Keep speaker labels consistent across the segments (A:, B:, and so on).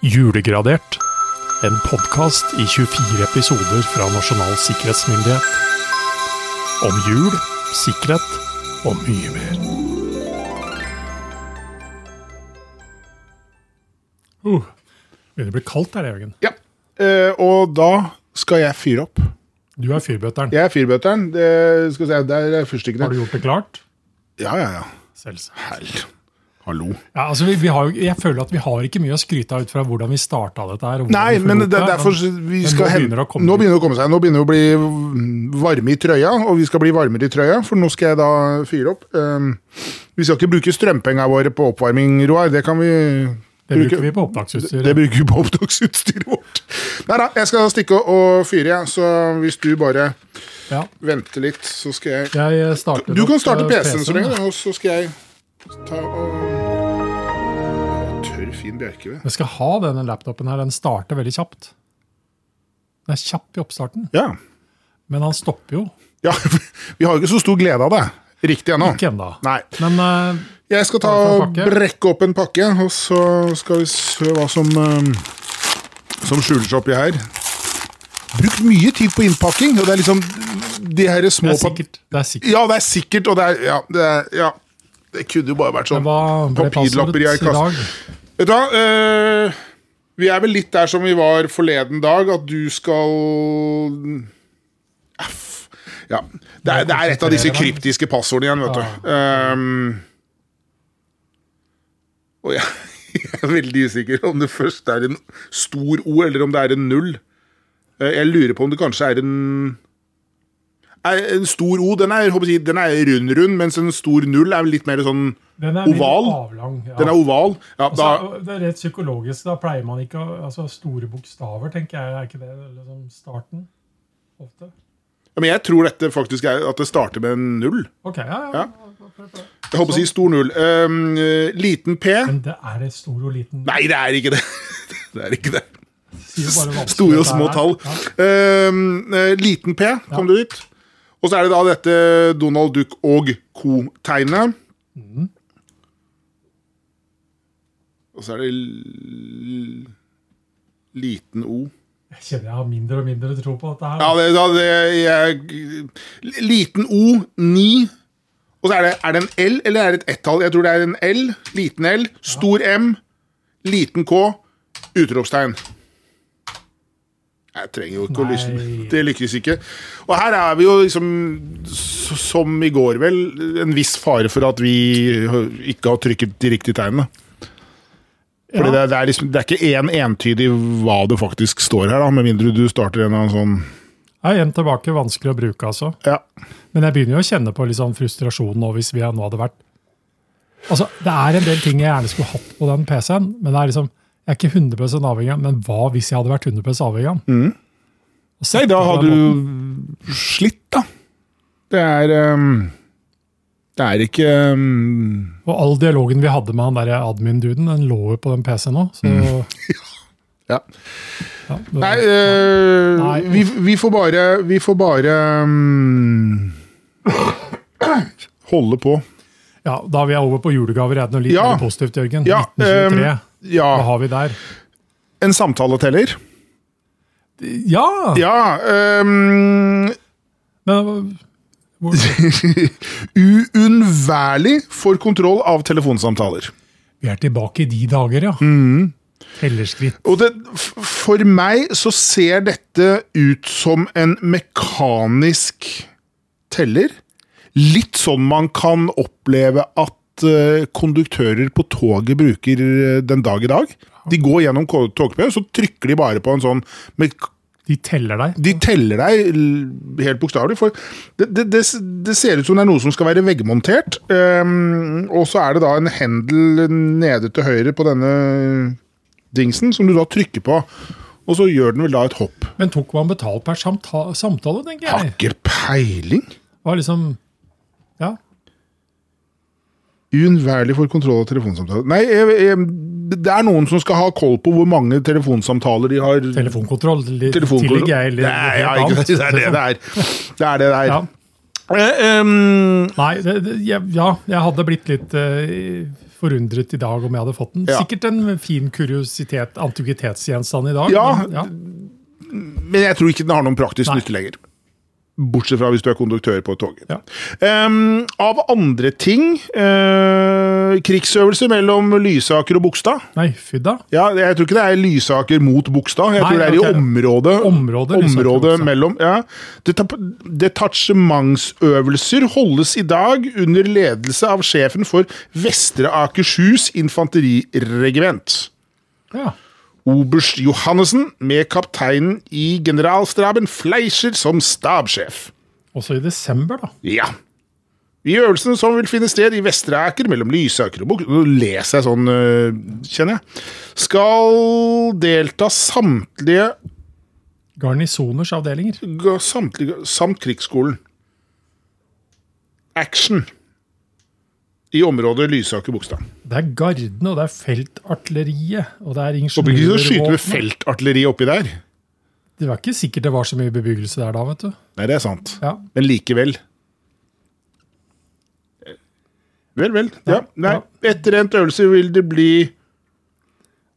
A: Julegradert. En podkast i 24 episoder fra Nasjonal sikkerhetsmyndighet. Om jul, sikkerhet og mye mer. Uh, begynner å bli kaldt her, Jørgen.
B: Ja. Eh, og da skal jeg fyre opp.
A: Du er fyrbøteren.
B: Jeg er fyrbøteren. Det, skal vi se, der er
A: Har
B: fyrstikkene.
A: du gjort det klart?
B: Ja, ja, ja.
A: Selvsagt.
B: Hell. Hallo.
A: Ja, altså, vi, vi har, jo- jeg føler at vi har ikke mye å skryte av ut fra hvordan vi starta dette. her. og hvordan
B: Nei,
A: vi
B: men
A: forlot
B: det er derfor vi
A: men
B: skal
A: nå
B: hen-
A: begynner det å komme
B: Nå
A: litt.
B: begynner det å komme seg. Nå begynner det å bli varme i trøya, og vi skal bli varmere i trøya, for nå skal jeg da fyre opp. Um, vi skal ikke bruke strømpenga våre på oppvarming, Roar. Det kan vi
A: Det bruker vi på opptaksutstyr.
B: Det bruker vi på opptaksutstyret vårt. Nei da, jeg skal stikke og fyre, jeg. Så hvis du bare
A: Ja.
B: venter litt, så skal jeg
A: Jeg starter
B: Du kan
A: opp,
B: starte
A: eh,
B: PC-en så lenge,
A: da.
B: og så skal jeg ta og Tørr, fin bjerkeved.
A: Jeg skal ha denne laptopen her. Den starter veldig kjapt. Den er kjapp i oppstarten,
B: Ja.
A: men han stopper jo
B: ja. Vi har jo ikke så stor glede av det. Riktig ennå.
A: ikke ennå.
B: Nei.
A: Men eh,
B: Jeg skal ta
A: Bare for en
B: og
A: pakke.
B: brekke opp en pakke, og så skal vi se hva som eh, som skjuler seg oppi her. Brukt mye tid på innpakking, og det er liksom de her
A: det
B: små
A: er sikkert. Det er sikkert.
B: Ja, det er sikkert, og det er Ja. Det, er, ja. det kunne jo bare vært sånn.
A: Hva ble passordet
B: Papirlapper i ei
A: i
B: kasse.
A: dag?
B: Vet du hva, eh, vi er vel litt der som vi var forleden dag, at du skal Aff. Ja. Det er, det er et av disse kryptiske passordene igjen, vet du.
A: Ah.
B: Ehm, og jeg, jeg er veldig usikker om det først er en stor O, eller om det er en null. Eh, Jeg lurer på om det kanskje er en er En stor O, den er, håper jeg, å si, den er rund, rund, mens en stor null er vel litt mer sånn
A: Den er litt
B: Oval?
A: Avlang, ja.
B: Den er oval. Ja,
A: Altså,
B: da,
A: det er rett psykologisk. Da pleier man ikke å altså, Store bokstaver, tenker jeg. Er ikke det liksom starten? Ofte.
B: Ja, Men jeg tror dette faktisk er at det starter med en null.
A: Ok, ja, ja.
B: Ja. Jeg håper å si stor null. Ehm, eh, liten P.
A: Men det er det stor og liten
B: Nei, det er ikke det. Det er ikke det.
A: sier jo bare vanskelig
B: Store og
A: dette
B: små
A: er.
B: tall.
A: Ja.
B: Ehm, eh, liten P, kom du dit. Og så er det da dette Donald Duck og co.-tegnet.
A: Mhm.
B: Og så er det l- liten O.
A: Jeg kjenner jeg har mindre og mindre tro på dette her.
B: Ja, det, da, det jeg, Liten O, 9. Og så er det, er det en L, eller er det et ett-tall? Jeg tror det er en L. Liten L. Stor M. Liten K. Utropstegn. Jeg trenger jo ikke å lyse.
A: Nei.
B: Det lykkes ikke. Og her er vi jo liksom, s- som i går vel, en viss fare for at vi ikke har trykket de riktige tegnene. Fordi
A: Ja.
B: det, er- det, er liksom, det er ikke én entydig hva det faktisk står her, da, med mindre du starter en eller annen sånn
A: Jeg er igjen tilbake vanskelig å bruke, altså.
B: Ja.
A: Men jeg begynner jo å kjenne på litt sånn frustrasjon nå, hvis vi nå hadde vært Altså, Det er en del ting jeg gjerne skulle hatt på den PC-en, men det er liksom, jeg er ikke 100 avhengig av den. Men hva hvis jeg hadde vært 100 avhengig av den? Og sett
B: Nei, Mm. da
A: det på
B: har
A: den måten.
B: du slitt, da. Det er ehm, Det er ikke ehm,
A: Og all dialogen vi hadde med han der admin-duden, den lå jo på den PC-en nå. Så
B: Mm. Ja.
A: ja, det,
B: Nei, øh,
A: Nei.
B: Vi, vi får bare Vi får bare ehm, holde på.
A: ja, da er vi over på julegaver. Er det noe litt
B: Ja.
A: mer positivt, Jørgen?
B: Ja, ehm,
A: 1923. Hva
B: Ja,
A: har vi der?
B: en samtaleteller.
A: Ja!
B: Ja ehm,
A: Men hvor,
B: Uunnværlig for kontroll av telefonsamtaler.
A: vi er tilbake i de dager, ja.
B: Mm.
A: Tellerskritt.
B: Og det, f- for meg så ser dette ut som en mekanisk teller. Litt sånn man kan oppleve at eh, konduktører på toget bruker eh, den dag i dag. De går gjennom ko- togkøen, så trykker de bare på en sånn mek
A: De teller deg.
B: De teller deg l- helt bokstavelig. For det, det, det, s- det ser ut som det er noe som skal være veggmontert. ehm, og så er det da en hendel nede til høyre på denne dingsen, som du da trykker på. Og så gjør den vel da et hopp.
A: Men tok man betalt per samta samtale, tenker
B: Har
A: jeg.
B: ikke peiling!
A: Det Var liksom, ja.
B: Uunnværlig for kontroll av telefonsamtaler. Nei, jeg, jeg, det er noen som skal ha koll på hvor mange telefonsamtaler de har.
A: Telefonkontroll. li-
B: Telefonkontroll.
A: Tillegg jeg litt-
B: Det er, ja,
A: helt
B: ikke,
A: annet.
B: sant? det er det det er. Det er det det er.
A: Ja.
B: Eh, ehm,
A: Nei, det, det, jeg, ja, jeg hadde blitt litt eh, forundret i dag om jeg hadde fått den.
B: Ja.
A: Sikkert en fin kuriositet, antikvitetsgjenstand i dag.
B: Ja.
A: men, ja.
B: Men jeg tror ikke den har noen praktisk
A: Nei.
B: nytte lenger. Bortsett fra hvis du er konduktør på et tog.
A: Ja.
B: Ehm, av andre ting eh, Krigsøvelse mellom Lysaker og Bogstad.
A: Nei, fy da.
B: Ja, jeg tror ikke det er Lysaker mot Bogstad. Jeg
A: Nei,
B: tror det er
A: ok.
B: i området,
A: Området Lysaker og
B: området
A: Bogstad.
B: mellom. Ja. Deta- Detasjementsøvelser holdes i dag under ledelse av sjefen for Vestre Akershus infanteriregiment.
A: Ja.
B: Oberst Johannessen med kapteinen i generalstaben Fleischer som stabssjef.
A: Også i desember, da.
B: Ja. I øvelsen som vil finne sted i Vestre Aker mellom Lysaker og Bukk Nå leser jeg sånn, øh, kjenner jeg. Skal delta samtlige,
A: Garnisoners avdelinger.
B: ga- samtlige samt krigsskolen. Action. I området Lysaker-Bogstad.
A: Det er garden, og det er feltartilleriet, og det er
B: Håper ikke du skyter med
A: ingeniørvåpen.
B: feltartilleri oppi der.
A: Det var ikke sikkert det var så mye bebyggelse der da, vet du.
B: Nei, det er sant.
A: Ja.
B: Men likevel. Vel, vel. Ja, nei. Etter endt øvelse vil det bli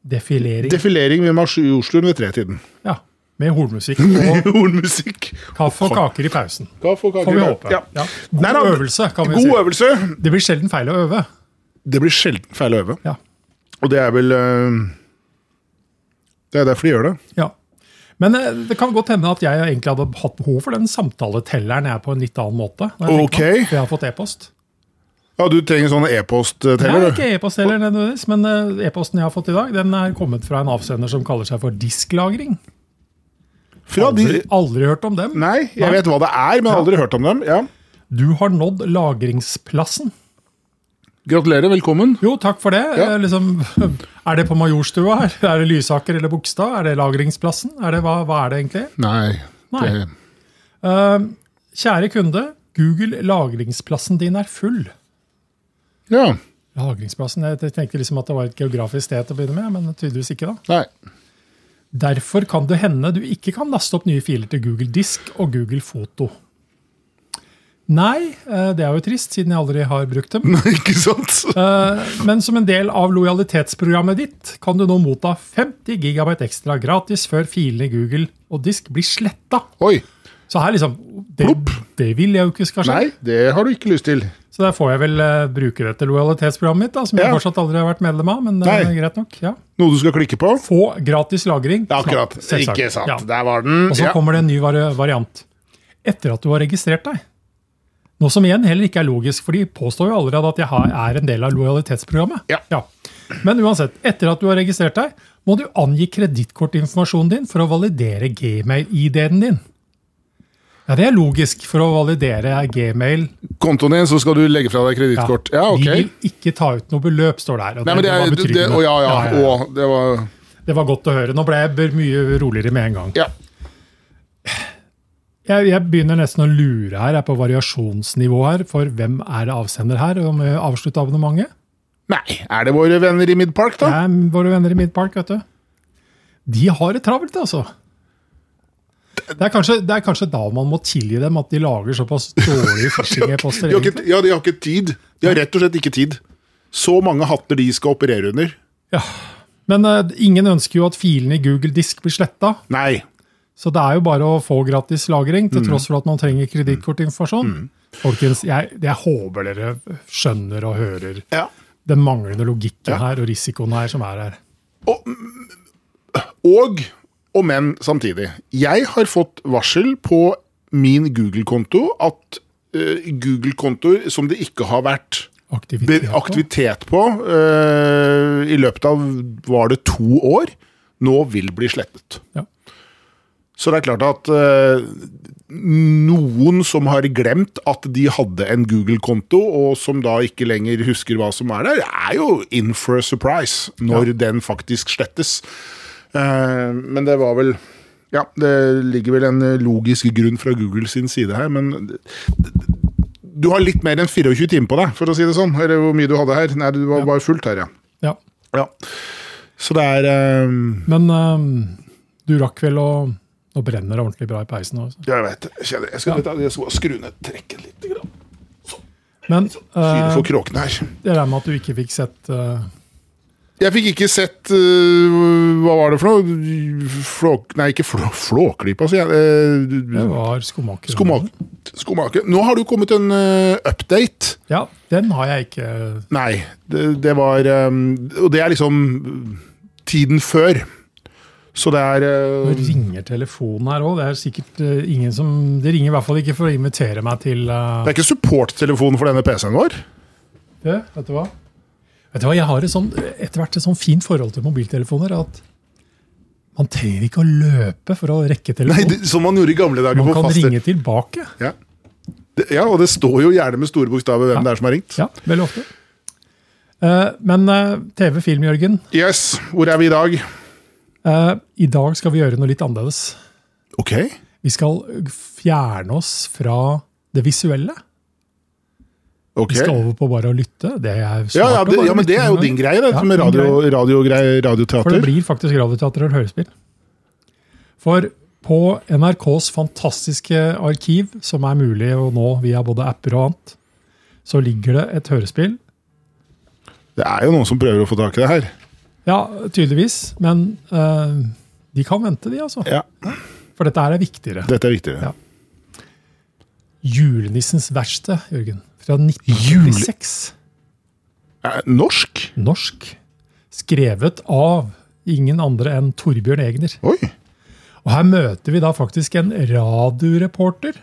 A: Defilering.
B: defilering ved Marsj i Oslo ved tretiden.
A: ja. Med hornmusikk og
B: Hornmusikk.
A: kaffe og kaker i pausen.
B: Da får
A: Får vi
B: kaker-
A: håpe.
B: Ja.
A: Ja. God
B: Nei da,
A: øvelse, kan vi
B: God
A: si.
B: øvelse.
A: Det blir sjelden feil å øve.
B: Det blir sjelden feil å øve.
A: Ja.
B: Og det er vel øh, Det er derfor de gjør det.
A: ja. Men eh, det kan godt hende at jeg egentlig hadde hatt behov for den samtaletelleren jeg på en litt annen måte. når jeg tenker
B: Ok.
A: meg om, For jeg har fått e-post.
B: Ja, Du trenger sånn
A: Nei,
B: e-post-teller, du.
A: ikke e-post heller, nødvendigvis, men eh, e-posten jeg har fått i dag, den er kommet fra en avsender som kaller seg for disklagring.
B: Fra
A: Aldri,
B: de
A: aldri hørt om dem.
B: Nei, jeg
A: Nei.
B: vet hva det er, men jeg har aldri hørt om dem. Ja.
A: Du har nådd lagringsplassen.
B: Gratulerer. Velkommen.
A: Jo, takk for det.
B: Ja.
A: Eh, Liksom, er det på Majorstua her? Er det Lysaker eller Bogstad? Er det lagringsplassen? Er det, hva, hva er det egentlig?
B: Nei.
A: Nei.
B: det-
A: Eh, kjære kunde, Google lagringsplassen din er full.
B: Ja.
A: Lagringsplassen, Jeg tenkte liksom at det var et geografisk sted til å begynne med, men tydeligvis ikke. da.
B: Nei.
A: Derfor kan det hende du ikke kan laste opp nye filer til Google Disk og Google Foto. Nei, eh, det er jo trist, siden jeg aldri har brukt dem.
B: Nei, ikke sant?
A: Eh, Men som en del av lojalitetsprogrammet ditt kan du nå motta 50 GB ekstra gratis før filene i Google og disk blir sletta.
B: Oi.
A: Så her liksom det, det vil jeg jo ikke skal skje.
B: Nei, det har du ikke lyst til.
A: Så der får jeg vel eh, bruke dette lojalitetsprogrammet mitt, da, som jeg
B: Ja.
A: fortsatt aldri har vært medlem av. men eh,
B: Nei.
A: greit nok. Ja.
B: Noe du skal klikke på?
A: Få gratis lagring.
B: Ja, akkurat.
A: Knapp, selvsagt.
B: Ikke sant.
A: Ja.
B: Der var den.
A: Og så
B: Ja.
A: kommer det en ny vari- variant. Etter at du har registrert deg. Noe som igjen heller ikke er logisk, for de påstår jo allerede at jeg har- er en del av lojalitetsprogrammet.
B: Ja.
A: Men uansett, etter at du har registrert deg, må du angi kredittkortinformasjonen din for å validere gmail-ID-en din. Ja, Det er logisk for å validere gmail.
B: Kontoen din, så skal du legge fra deg
A: Ja.
B: kredittkort. Ja,
A: De
B: ok.
A: vil ikke ta ut noe beløp, står det her. og
B: Nei, men det er,
A: var
B: det, det,
A: betryggende.
B: å, ja, ja.
A: Ja, ja, ja.
B: Å, det var
A: Det var godt å høre. Nå ble jeg b- mye roligere med en gang.
B: Ja.
A: Jeg, jeg begynner nesten å lure her, jeg er på variasjonsnivå her, for hvem er det avsender her? Om jeg avslutter abonnementet?
B: Nei, er det våre venner i Midpark,
A: Det
B: da?
A: er våre venner i Midpark, vet du. De har det travelt, altså. Det er, kanskje, det er kanskje da man må tilgi dem at de lager såpass dårlige
B: De
A: phishing-poster.
B: har ikke, ja, de har ikke tid. De har rett og slett ikke tid. Så mange hatter de skal operere under.
A: Men eh, ingen ønsker jo at filene i Google Disk blir sletta,
B: Nei.
A: så det er jo bare å få gratis lagring, til tross for at man trenger kredittkortinformasjon. Folkens, jeg, jeg håper dere skjønner og hører
B: Ja.
A: den manglende logikken
B: Ja.
A: her og risikoen her som er her.
B: Og, og men samtidig. Jeg har fått varsel på min Google-konto at eh, Google-kontoer som det ikke har vært
A: Aktivitet.
B: be- aktivitet på eh, i løpet av var det to år, nå vil bli slettet.
A: Ja.
B: Så det er klart at eh, noen som har glemt at de hadde en Google-konto, og som da ikke lenger husker hva som er der, er jo in for a surprise når den faktisk slettes. Eh, men det var vel Ja, det ligger vel en eh, logisk grunn fra Google sin side her, men du har litt mer enn 24 timer på deg, for å si det sånn. Eller hvor mye du hadde her. Nei, du var bare fullt her, ja.
A: Ja.
B: ja. Så det er eh,
A: Men ehm, du rakk vel å Nå brenner det ordentlig bra i peisen. altså. Også.
B: Jeg vet det. Jeg kjenner- Jeg skal, jeg skal skru ned trekken litt. Grann.
A: Men
B: Syn
A: eh,
B: for kråkene her.
A: jeg regner med at du ikke fikk sett eh,
B: Jeg fikk ikke sett øh, Hva var det for noe? Flåk... Nei, ikke flå, flåklypa, sier jeg.
A: Det
B: Uh,
A: var skomaker.
B: Skomaker. Skomaker. Nå har det jo kommet en øh, update.
A: Ja, den har jeg ikke
B: Nei, det, det var øhm, Og det er liksom tiden før. Så det er øh,
A: Nå ringer telefonen her òg. Det er sikkert eh, ingen som De ringer i hvert fall ikke for å invitere meg til eh,
B: Det er ikke supporttelefonen for denne PC-en vår.
A: det. Vet du hva? Vet du hva, Jeg har et sånn, etter hvert et sånn fint forhold til mobiltelefoner at man trenger ikke å løpe for å rekke
B: Nei,
A: telefonen.
B: det, Som man gjorde i gamle dager.
A: man
B: på
A: kan
B: faste-
A: ringe tilbake.
B: Ja. Det, ja, og det står jo gjerne med store bokstaver hvem
A: Ja.
B: det er som har ringt.
A: Ja, veldig ofte. Eh, men eh, TV, film, Jørgen.
B: Yes, hvor er vi i dag?
A: Eh, I dag skal vi gjøre noe litt annerledes.
B: Ok.
A: Vi skal fjerne oss fra det visuelle.
B: ok.
A: Vi skal over på bare å lytte. Det er smart
B: Ja, ja,
A: å
B: det,
A: bare
B: ja, men det
A: lytte
B: er jo
A: noen
B: din
A: ganger.
B: greie, dette
A: Ja,
B: med
A: min
B: radio, radiogrei-
A: For det
B: radioteater.
A: blir faktisk radioteater og hørespill. For på NRKs fantastiske arkiv, som er mulig å nå via både apper og annet, så ligger det et hørespill.
B: Det er jo noen som prøver å få tak i det her.
A: Ja, tydeligvis, men eh, de kan vente, de, altså.
B: Ja,
A: For dette her er viktigere.
B: Dette er viktigere.
A: Ja. Julenissens verksted, Jørgen. Fra 1946.
B: Jule- Eh, Norsk?
A: Norsk. Skrevet av ingen andre enn Torbjørn Egner.
B: Oi.
A: Og her møter vi da faktisk en radioreporter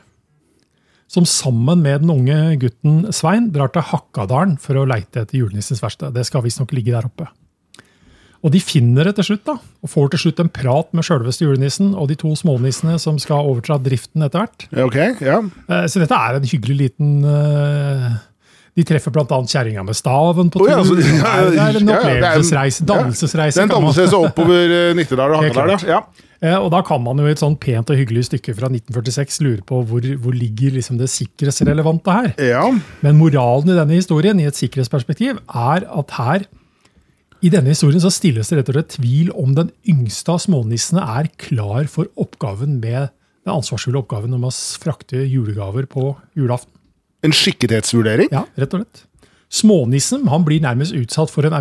A: som sammen med den unge gutten Svein drar til Hakkadalen for å leite etter julenissens verksted. Det skal visstnok ligge der oppe. Og de finner det til slutt, da, og får til slutt en prat med sjølveste julenissen og de to smånissene som skal overta driften etter hvert.
B: Ja, Ok, ja.
A: Eh, Så dette er en hyggelig liten eh, De treffer bl.a. kjerringa med staven på
B: Å,
A: tur.
B: ja, så-
A: Det
B: ja,
A: er- det er en
B: ja, ja, det er en-
A: opplevelsesreise. Dannelsesreise.
B: Den
A: kan man-
B: danses oppover eh, Nittedal og
A: Helt
B: Hakadal, ja. ja.
A: Eh, Og da kan man jo i et sånn pent og hyggelig stykke fra 1946 lure på hvor, hvor ligger liksom det sikkerhetsrelevante her.
B: Ja,
A: Men moralen i denne historien, i et sikkerhetsperspektiv, er at her i denne historien så stilles det rett og slett tvil om den yngste av smånissene er klar for oppgaven med den ansvarsfulle oppgaven om å s- frakte julegaver på julaften.
B: En skikkethetsvurdering?
A: Ja, rett og slett. Smånissen han blir nærmest utsatt for en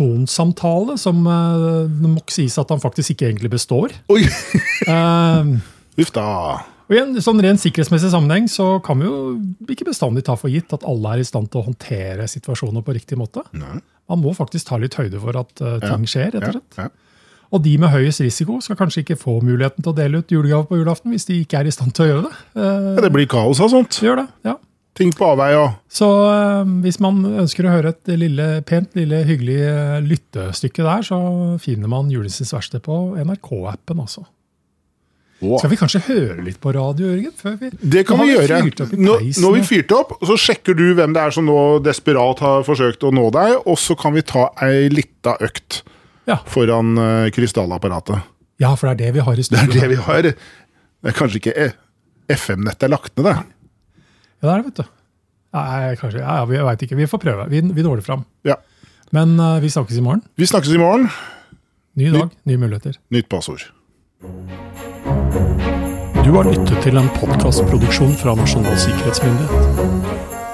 A: autorisasjonssamtale som eh, det må sies at han faktisk ikke egentlig består.
B: Oi,
A: Eh,
B: uff da.
A: og i en sånn ren sikkerhetsmessig sammenheng så kan vi jo ikke bestandig ta for gitt at alle er i stand til å håndtere situasjoner på riktig måte. Man må faktisk ta litt høyde for at eh, ting skjer, rett
B: Ja,
A: og slett.
B: ja.
A: Og de med høyest risiko skal kanskje ikke få muligheten til å dele ut julegave på julaften hvis de ikke er i stand til å gjøre det. Eh,
B: Ja, det blir kaos av sånt.
A: gjør det, ja.
B: Ting på avvei og
A: Så eh, hvis man ønsker å høre et lille, pent, lille, hyggelig eh, lyttestykke der, så finner man Julissens verksted på NRK-appen, altså.
B: Wow.
A: Skal vi kanskje høre litt på radio, Jørgen? Før vi,
B: Det kan
A: Nå
B: vi
A: har
B: gjøre.
A: fyrt opp i
B: Nå-
A: peisen,
B: Når vi
A: ja.
B: fyrte opp, så sjekker du hvem det er som nå desperat har forsøkt å nå deg, og så kan vi ta ei lita økt
A: ja.
B: foran eh, krystallapparatet.
A: ja, for det er det vi har i
B: Det er
A: studio.
B: det vi har. Det er kanskje ikke FM-nettet er lagt ned, det.
A: Ja, det er det, vet du. Nei, kanskje, ja, ja, vi- jeg veit ikke. Vi får prøve. Vi, vi når det fram.
B: Ja.
A: Men eh, vi snakkes i morgen.
B: Vi snakkes i morgen.
A: Ny dag, nye muligheter.
B: Nytt passord.
A: Du har lyttet til en podkastproduksjon fra Nasjonal sikkerhetsmyndighet.